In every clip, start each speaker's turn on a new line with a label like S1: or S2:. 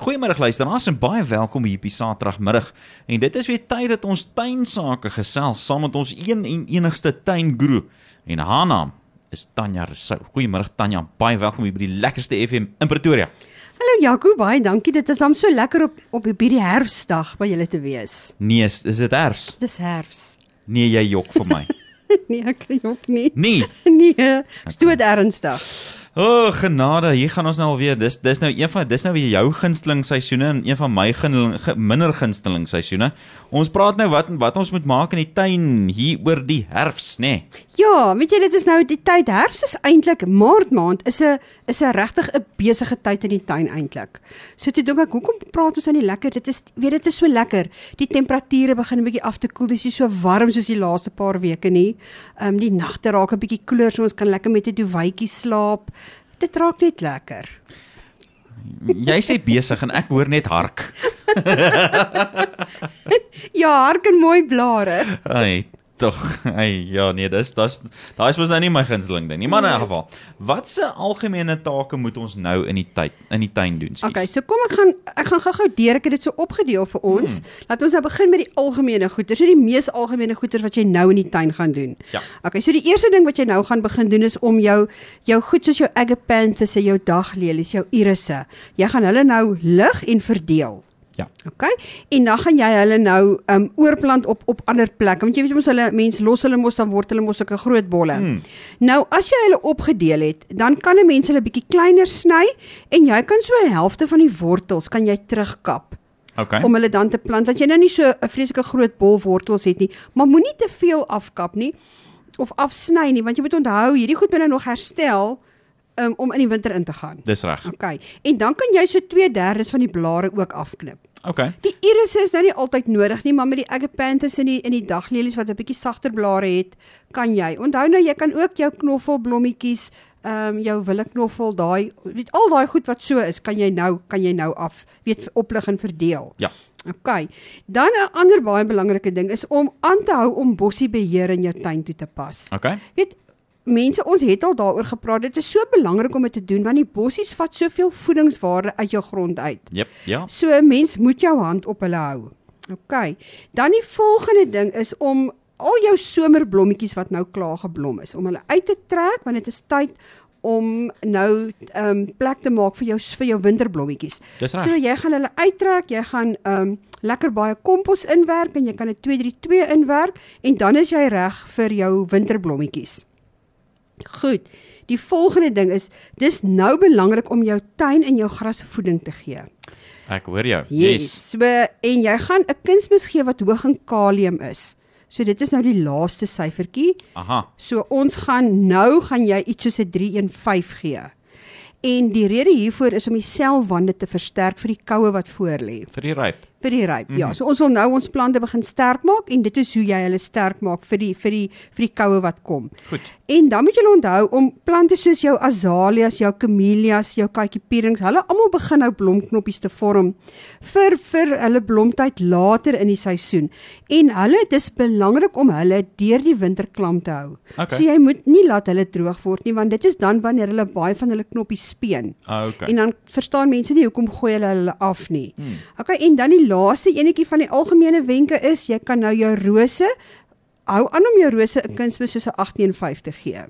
S1: Goeiemôre luisteraars en baie welkom hier by Saterdagmiddag. En dit is weer tyd dat ons tuinsake gesels saam met ons een en enigste tuinguru. En haar naam is Tanya Rousseau. Goeiemôre Tanya, baie welkom hier by die lekkerste FM in Pretoria.
S2: Hallo Jaco, baie dankie. Dit is hom so lekker op op hierdie herfsdag by julle te wees.
S1: Nee, is, is dit herfs?
S2: Dis herfs.
S1: Nee, jy jok vir my.
S2: nee, ek jok nie.
S1: Nee.
S2: Nee, stoot ernstig.
S1: O, oh, genade, hier gaan ons nou alweer. Dis dis nou een van dis nou weer jou gunsteling seisoene en een van my gunsteling ge- minder gunsteling seisoene. Ons praat nou wat wat ons moet maak in die tuin hier oor die herfs, nê? Nee.
S2: Ja, weet jy dit is nou die tyd herfs is eintlik Maart maand is 'n is 'n regtig 'n besige tyd in die tuin eintlik. So toe dink ek, hoekom praat ons aan die lekker? Dit is weet dit is so lekker. Die temperature begin 'n bietjie af te koel. Dis nie so warm soos die laaste paar weke nie. Ehm um, die nagte raak 'n bietjie koeler, so ons kan lekker met 'n duvetjie slaap. Dit raak net lekker.
S1: Mm, Jy sê besig en ek hoor net hark.
S2: Ja, hark en mooi blare.
S1: Ai, tog. Ai, ja, nee, dis dis daai is mos nou nie my gunsteling ding nie, maar in
S2: Nee.
S1: 'n geval. Watse algemene take moet ons nou in die tyd in die tuin doen? skies?
S2: Okay, so kom ek gaan ek gaan gou-gou deur. Ek het dit so opgedeel vir ons. Laat ons nou begin met die algemene goeder. So die mees algemene goeder wat jy nou in die tuin gaan doen.
S1: Ja.
S2: Okay, so die eerste ding wat jy nou gaan begin doen is om jou jou goed soos jou agapanthus, jou daglelies, jou irisse. Jy gaan hulle nou lig en verdeel.
S1: Ja.
S2: OK? En dan gaan jy hulle nou um oorplant op op ander plekke want jy weet mos hulle mense los hulle mos dan word hulle mos sulke groot bolle.
S1: Hmm.
S2: Nou as jy hulle opgedeel het, dan kan 'n mens hulle bietjie kleiner sny en jy kan so 'n helfte van die wortels kan jy terugkap
S1: Okay.
S2: om hulle dan te plant dat jy nou nie so 'n vreeslike groot bol wortels het nie, maar moenie te veel afkap nie of afsny nie want jy moet onthou hierdie goed moet nou nog herstel um, om in die winter in te gaan.
S1: Dis reg.
S2: OK. En dan kan jy so 2/3 van die blare ook afknip.
S1: Okay.
S2: Die irisse is nou nie altyd nodig nie, maar met die agapanthus en die in die daglelies wat 'n bietjie sagter blare het, kan jy. Onthou nou jy kan ook jou knoffelblommetjies, ehm jou willeknoffel, daai weet al daai goed wat so is, kan jy nou kan jy nou af weet oplig en verdeel.
S1: Ja.
S2: OK. Dan 'n ander baie belangrike ding is om aan te hou om bossiebeheer in jou tuin toe te pas.
S1: Okay.
S2: Weet mense, ons het al daaroor gepraat. Dit is so belangrik om dit te doen want die bossies vat soveel voedingswaarde uit jou grond uit.
S1: Jep, ja.
S2: So 'n mens moet jou hand op hulle hou. OK. Dan die volgende ding is om al jou somerblommetjies wat nou klaar geblom is, om hulle uit te trek want dit is tyd om nou ehm um, plek te maak vir jou vir jou winterblommetjies.
S1: Dis reg.
S2: So jy gaan hulle uittrek, jy gaan ehm um, lekker baie kompos inwerk en jy kan 'n 232 inwerk en dan is jy reg vir jou winterblommetjies. Goed. Die volgende ding is dis nou belangrik om jou tuin en jou gras voeding te gee.
S1: Ek hoor jou.
S2: Yes. So en jy gaan 'n kunsmis gee wat hoog in kalium is. So dit is nou die laaste syfertjie.
S1: Aha.
S2: So ons gaan nou gaan jy iets soos 'n 315 gee. En die rede hiervoor is om die selwande te versterk vir die koue wat voor lê,
S1: Vir die ryp.
S2: vir die ryp. Ja, so ons wil nou ons plante begin sterk maak en dit is hoe jy hulle sterk maak vir die vir die vir die koue wat kom.
S1: Goed.
S2: En dan moet julle onthou om plante soos jou azaleas, jou kamelias, jou katjiepierings, hulle almal begin nou blomknoppies te vorm vir vir hulle blomtyd later in die seisoen. En hulle dis belangrik om hulle deur die winter klam te hou.
S1: Okay.
S2: So jy moet nie laat hulle droog word nie want dit is dan wanneer hulle baie van hulle knoppies speen.
S1: Ah,
S2: En
S1: okay.
S2: dan verstaan mense nie hoekom gooi hulle hulle af nie.
S1: Hmm.
S2: Okay, en dan die laaste enetjie van die algemene wenke is jy kan nou jou rose hou aan om jou rose 'n kunsmis soos 'n 1850 te gee.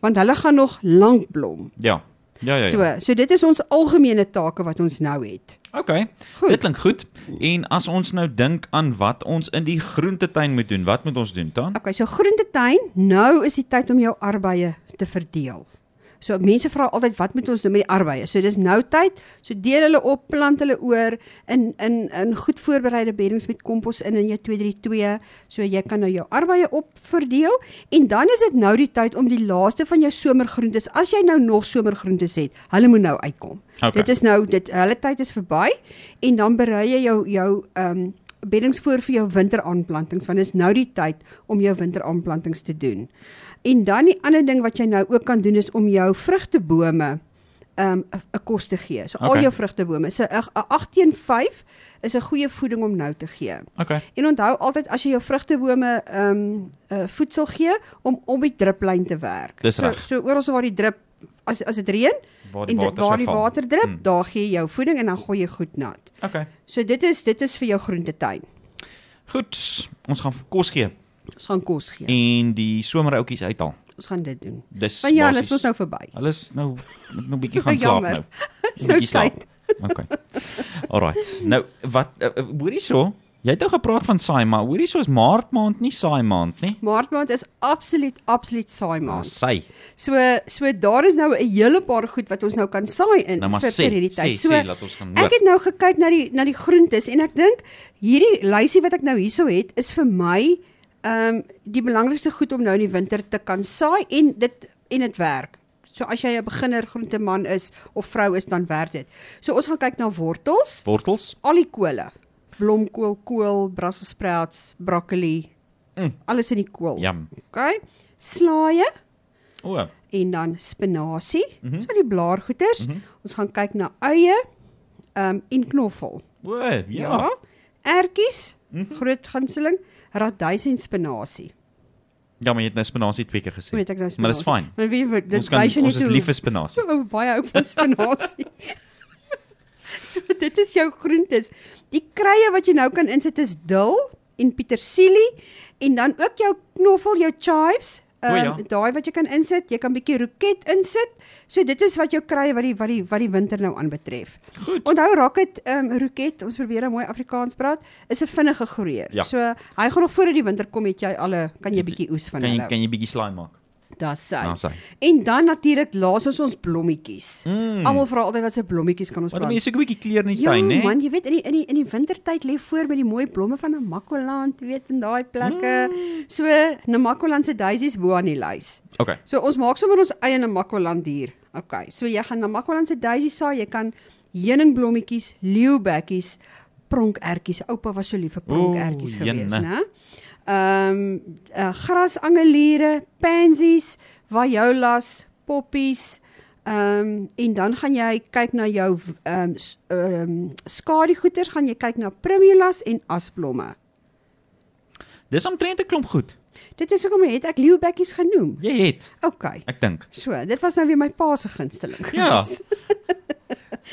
S2: Want hulle gaan nog lank blom.
S1: Ja. Ja ja. ja.
S2: So, so dit is ons algemene take wat ons nou het.
S1: Okay. Goed.
S2: Goed.
S1: Dit klink goed. En as ons nou dink aan wat ons in die groentetuin moet doen, wat moet ons doen dan?
S2: Okay, so groentetein, nou is die tyd om jou arbeie te verdeel. So mense vra altyd wat moet ons doen met die arbeie? So dis nou tyd. So deel hulle op, plant hulle oor in in in goed voorbereide beddings met kompos in in jou 232. So jy kan nou jou arbeie op verdeel en dan is dit nou die tyd om die laaste van jou somergroentes, as jy nou nog somergroentes het, hulle moet nou uitkom.
S1: Okay.
S2: Dit is nou dit hulle tyd is verby en dan berei jy jou jou ehm um, beddings voor vir jou winteraanplantings want dit is nou die tyd om jou winteraanplantings te doen. En dan die ander ding wat jy nou ook kan doen is om jou vrugtebome um 'n- 'n kos te gee. So
S1: Okay.
S2: al jou vrugtebome. So 'n 'n 815 is 'n goeie voeding om nou te gee.
S1: Okay.
S2: En onthou altyd as jy jou vrugtebome ehm um, uh, voedsel gee om om die druplyn te werk.
S1: Dis
S2: so
S1: reg.
S2: so oral waar die drup as as dit reën,
S1: Waar die
S2: en dit
S1: water sou
S2: waar die
S1: val.
S2: water drup,
S1: Hmm.
S2: daar gee jy jou voeding en dan gooi jy goed nat.
S1: Okay.
S2: So dit is dit is vir jou groentetuin.
S1: Goed, ons gaan vir kos
S2: Ja.
S1: gee
S2: Ons gaan kos gee.
S1: en die someroutjies uithaal.
S2: Ons gaan dit doen.
S1: Dis
S2: Want ja, hulle
S1: basies-
S2: is mos nou verby.
S1: Hulle is nou moet nou 'n bietjie
S2: Dis
S1: gaan
S2: nou
S1: slaap
S2: jammer.
S1: nou.
S2: Dis nou
S1: Bietjie slaap.
S2: tyd.
S1: Okay. Alrite. Nou wat eh, eh, hoor hierso? Jy het nou gepraat van saai maar hoor hierso is maart maand nie saai maand nie. Ah,
S2: Maart maand is absoluut absoluut saai
S1: Maar
S2: maand.
S1: sy.
S2: So so daar is nou 'n hele paar goed wat ons nou kan saai in
S1: Nou maar
S2: vir,
S1: sê,
S2: vir hierdie
S1: sê,
S2: tyd. So
S1: sê, laat ons gaan hoor.
S2: ek het nou gekyk na die na die groentes en ek dink hierdie lysie wat ek nou hierso het is vir my ehm die belangrikste goed om nou in die winter te kan saai en dit en dit werk. So as jy 'n beginner groenteman is of vrou is dan werk dit. So ons gaan kyk na wortels,
S1: Wortels?
S2: al die kole. Blomkool, kool, Brussels sprouts, broccoli.
S1: Mm.
S2: Alles in die kool.
S1: Jam.
S2: Okay. Slaaie
S1: O,
S2: en dan spinasie, mm
S1: Mhm.
S2: -hmm. so die blaargoeters. Mm -hmm. Ons gaan kyk na eie, ehm um, en knoffel.
S1: o, ja. Mhm. ja.
S2: Ertjies, mm -hmm. groot ganseling, raduis en spinasie.
S1: Ja, maar jy het nou spinasie twee keer gesê.
S2: Weet ek nou spinasie.
S1: maar dis fyn.
S2: Maar wie weet, dit
S1: Ons kan
S2: wys jou
S1: ons
S2: net
S1: is
S2: hoe-
S1: lief vir spinasie.
S2: So baie hou van spinasie. so dit is jou groentes. Die kruie wat jy nou kan insit is dil en pietersilie en dan ook jou knoffel, jou chives. ehm,
S1: O, ja.
S2: daai wat jy kan insit, jy kan bietjie roket insit. So dit is wat jou kruie wat die wat die wat die winter nou aanbetref.
S1: Goed.
S2: Onthou roket, ehm um, roket, ons probeer nou mooi Afrikaans praat, is 'n vinnige groeier.
S1: Ja.
S2: So hy gaan nog voordat die winter kom het jy alle kan jy
S1: Het jy-
S2: bietjie oes van
S1: Kan jy
S2: hulle.
S1: kan jy bietjie slaai maak?
S2: Daar's hy.
S1: Nou sê.
S2: En dan natuurlik laas ons ons blommetjies.
S1: Mm.
S2: Almal vra altyd wat se blommetjies kan ons
S1: Maar dan
S2: plant.
S1: is ook 'n bietjie kleur in die tuin,
S2: Ja,
S1: hè?
S2: man, jy weet in die in die in die wintertyd lê voor met die mooi blomme van Namakoland, jy weet in daai plekke.
S1: Hmm.
S2: Mm. So Namakoland se daisies bo aan die lys.
S1: Okay.
S2: So ons maak sommer ons eie Namakoland hier. Okay. So jy gaan Namakoland se daisies saai, jy kan heuningblommetjies, leeubekkies, pronkertjies. Oupa was so lief vir pronkertjies
S1: Oeh,
S2: gewees,
S1: jene.
S2: né? Ehm um, uh, grasangeliere, pansies, violas, poppies. Ehm um, en dan gaan jy kyk na jou ehm um, ehm um, skadugoeters, gaan jy kyk na primulas en asblomme.
S1: Dis omtrent 'n klomp goed.
S2: Dit is hoekom het ek leeubekkies genoem.
S1: Jy het,
S2: Okay.
S1: ek dink.
S2: So, dit was nou weer my pa se gunsteling.
S1: Ja.
S2: gewees.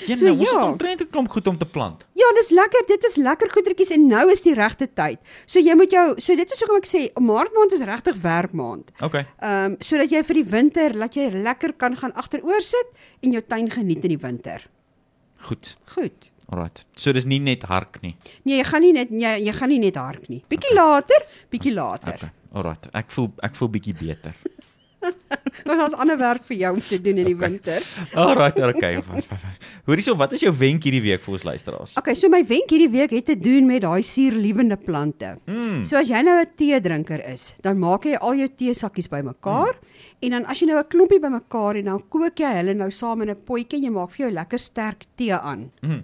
S1: Ja,
S2: So,
S1: nou, ons het
S2: ja.
S1: omtrent 'n klomp goed om te plant.
S2: Ja, dis lekker. Dit is lekker goedertjies en nou is die regte tyd. So jy moet jou so dit is hoekom ek sê Maart maand is regtig werkmaand.
S1: Okay.
S2: Ehm um, sodat jy vir die winter laat jy lekker kan gaan agteroor sit en jou tuin geniet in die winter.
S1: Goed.
S2: Goed.
S1: Alrite. So dis nie net hark nie.
S2: Nee, jy gaan nie net jy, jy gaan nie net hark nie. Bietjie later, bietjie later.
S1: Okay. Alrite. Ek voel ek voel bietjie beter.
S2: Want daar's ander werk vir jou om te doen in die
S1: Okay.
S2: winter.
S1: Alrite, okay. Hoor hierso, wat is jou wenk hierdie week vir ons luisteraars?
S2: Okay, so my wenk hierdie week het te doen met daai suurliewende plante.
S1: Mm.
S2: So as jy nou 'n teedrinker is, dan maak jy al jou teesakkies bymekaar mm. en dan as jy nou 'n klompie bymekaar en dan kook jy hulle nou saam in 'n potjie en jy maak vir jou lekker sterk tee aan.
S1: Mm.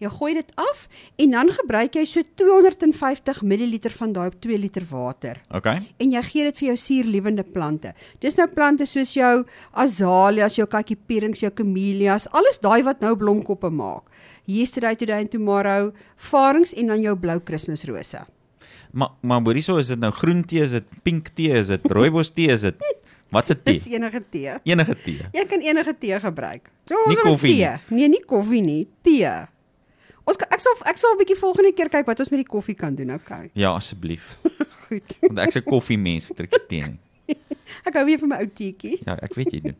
S2: Jy gooi dit af en dan gebruik jy so 250 ml van daai op 2 liter water
S1: Okay.
S2: en jy gee dit vir jou suurliewende plante. Dis nou plante soos jou azaleas, jou kakipierings, jou kamelias, alles daai wat nou blomkoppe maak. Yesterday, today and tomorrow, farings en dan jou blou kerstmisrose.
S1: Maar maar hoor hierso, is dit nou groen tee, is dit pink tee, is dit rooibos tee, is dit wat se
S2: Dis
S1: tee?
S2: enige tee.
S1: Enige tee.
S2: Jy kan enige tee gebruik. So
S1: Nie
S2: ons het
S1: koffie
S2: tee. Nee, nie koffie nie, tee. Ons kan, ek sal ek sal 'n bietjie volgende keer kyk wat ons met die koffie kan doen, okay.
S1: Ja, asseblief.
S2: Goed.
S1: Want ek's 'n koffiemens, ek drink nie tee nie.
S2: Ek hou weer van my ou teetjie.
S1: Ja, ek weet jy doen.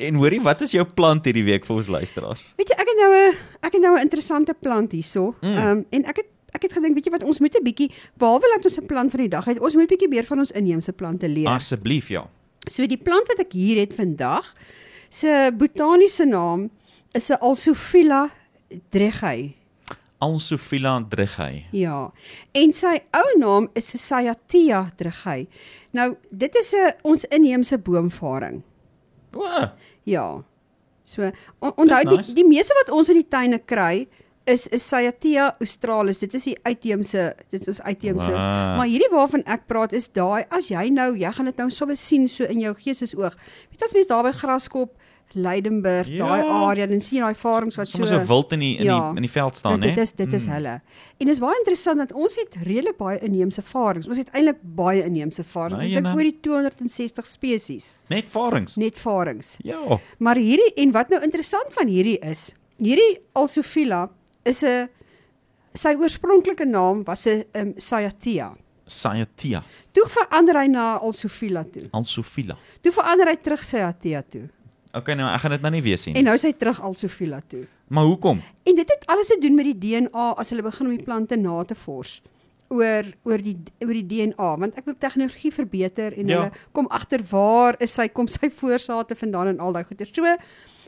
S1: En hoorie, wat is jou plant hierdie week vir ons luisteraars?
S2: Weet jy, ek het nou 'n ek het nou 'n interessante plant hierso. Ehm
S1: Mm.
S2: um, en ek het ek het gedink, weet jy wat, ons moet 'n bietjie behalwe dat ons 'n plant van die dag het, ons moet 'n bietjie meer van ons inheemse plante leer.
S1: Asseblief, ja.
S2: So die plant wat ek hier het vandag se botaniese naam is 'n Alsophila dreghei.
S1: Alsophila dreghei.
S2: Ja. En sy ou naam is 'n Cyathea dreghei. Nou, dit is 'n ons inheemse boomvaring.
S1: O,
S2: Ja. So on, onthou die
S1: nice.
S2: die meeste wat ons in die tuine kry is is Cyathea australis. Dit is die uitheemse, dit is ons uitheemse.
S1: Ah.
S2: Maar hierdie waarvan ek praat is daai as jy nou, jy gaan dit nou sommer sien so in jou geesesoog. Weet as mens daar by graskop Leidenburg,
S1: Ja.
S2: daai area, dan sien jy daai farms wat so
S1: Sommige so wild in die in
S2: Ja.
S1: die in die veld staan, hè. Hmm. Mm.
S2: Dit is dit is hulle. En is baie interessant dat ons het redelik baie inheemse varings. Ons het eintlik baie inheemse varings.
S1: Nou,
S2: Ek
S1: jy
S2: dink
S1: nou.
S2: oor die 260 spesies,
S1: Net varings.
S2: net varings.
S1: Ja.
S2: Maar hierdie en wat nou interessant van hierdie is, hierdie Alsofila is 'n sy oorspronklike naam was 'n um, Cyathea.
S1: Sciatia,
S2: Toe verander hy na Alsofila toe.
S1: Alsofila.
S2: Toe verander hy terug Cyathea toe.
S1: Okay, nou ek gaan dit nou nie weer sien.
S2: En
S1: En,
S2: nou is hy terug Alsofila toe.
S1: maar hoekom?
S2: En dit het alles te doen met die DNA as hulle begin om die plante na te vors oor oor die oor die DNA want ek wil tegnologie verbeter en
S1: Ja.
S2: hulle kom agter waar is sy kom sy voorsate vandaan en al daai goeie. So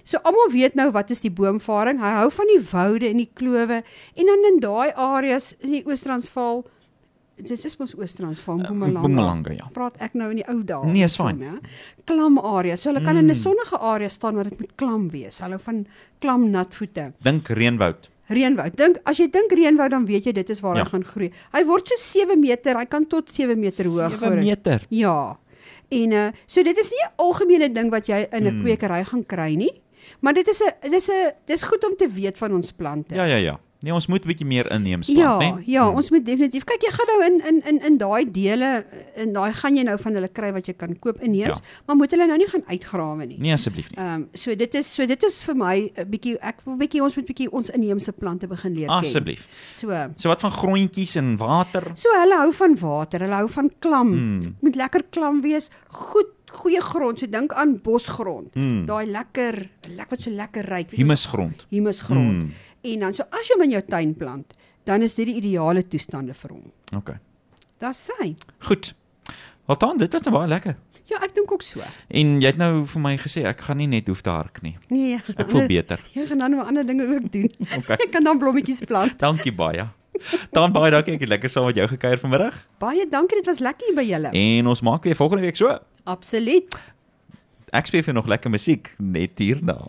S2: so almal weet nou wat is die boomvaring. Hy hou van die woude en die klowe en dan in daai areas in die Oos-Transvaal dit is mos Oos-Transvaal, Mpumalanga.
S1: Eh, Mpumalanga, ja.
S2: Praat ek nou in die ou dae.
S1: Nee, is fyn.
S2: Ja. Klam area. So hulle kan in 'n
S1: Mm.
S2: sonnige area staan maar dit moet klam wees. Hulle hou van klam natvoete.
S1: Dink reënwoud.
S2: Reënwoud. Dink as jy dink reënwoud dan weet jy dit is waar
S1: Ja.
S2: hy gaan groei. Hy word so 7 meter, hy kan tot 7 meter hoog
S1: 7
S2: word.
S1: meter.
S2: Ja. En uh so dit is nie 'n algemene ding wat jy in 'n
S1: Mm.
S2: kwekery gaan kry nie, maar dit is 'n dis 'n dis goed om te weet van ons plante.
S1: Ja nee. ja ja. Nee, ons moet 'n bietjie meer inneem span,
S2: Ja,
S1: né? Hmm.
S2: ja, ons moet definitief. Kyk, jy gaan nou in in in in daai dele in daai gaan jy nou van hulle kry wat jy kan koop inheems, ja. maar moet hulle nou nie gaan uitgrawe nie.
S1: Nee asseblief nie.
S2: Ehm um, so dit is so dit is vir my 'n bietjie ek wil bietjie ons moet bietjie ons inheemse plante begin leer ken.
S1: Asseblief.
S2: So
S1: So wat van grondjies en water?
S2: So hulle hou van water, hulle hou van klam.
S1: Mm.
S2: Moet lekker klam wees, goed goeie grond. So dink aan bosgrond.
S1: Mm.
S2: Daai lekker, lekker wat so lekker ryk.
S1: Humusgrond.
S2: Humusgrond.
S1: Mm.
S2: En dan so as jy hom in jou tuin plant, dan is dit die ideale toestande vir hom.
S1: Okay.
S2: Dis sy.
S1: Goed. Wat dan? Dit was nou baie lekker.
S2: Ja, ek dink ook so.
S1: En jy het nou vir my gesê ek gaan nie net hoef te hark nie.
S2: Nee.
S1: Ek voel beter.
S2: Jy gaan dan nou ander dinge ook doen.
S1: Okay.
S2: Ek kan dan blommetjies plant.
S1: Dankie baie. Dan baie dankie. Ek het lekker saam met jou gekuier vanmiddag.
S2: Baie dankie, dit was lekker hier by julle.
S1: En ons maak weer volgende week so.
S2: Absoluut.
S1: Ek speel vir jou nog lekker musiek net hierna.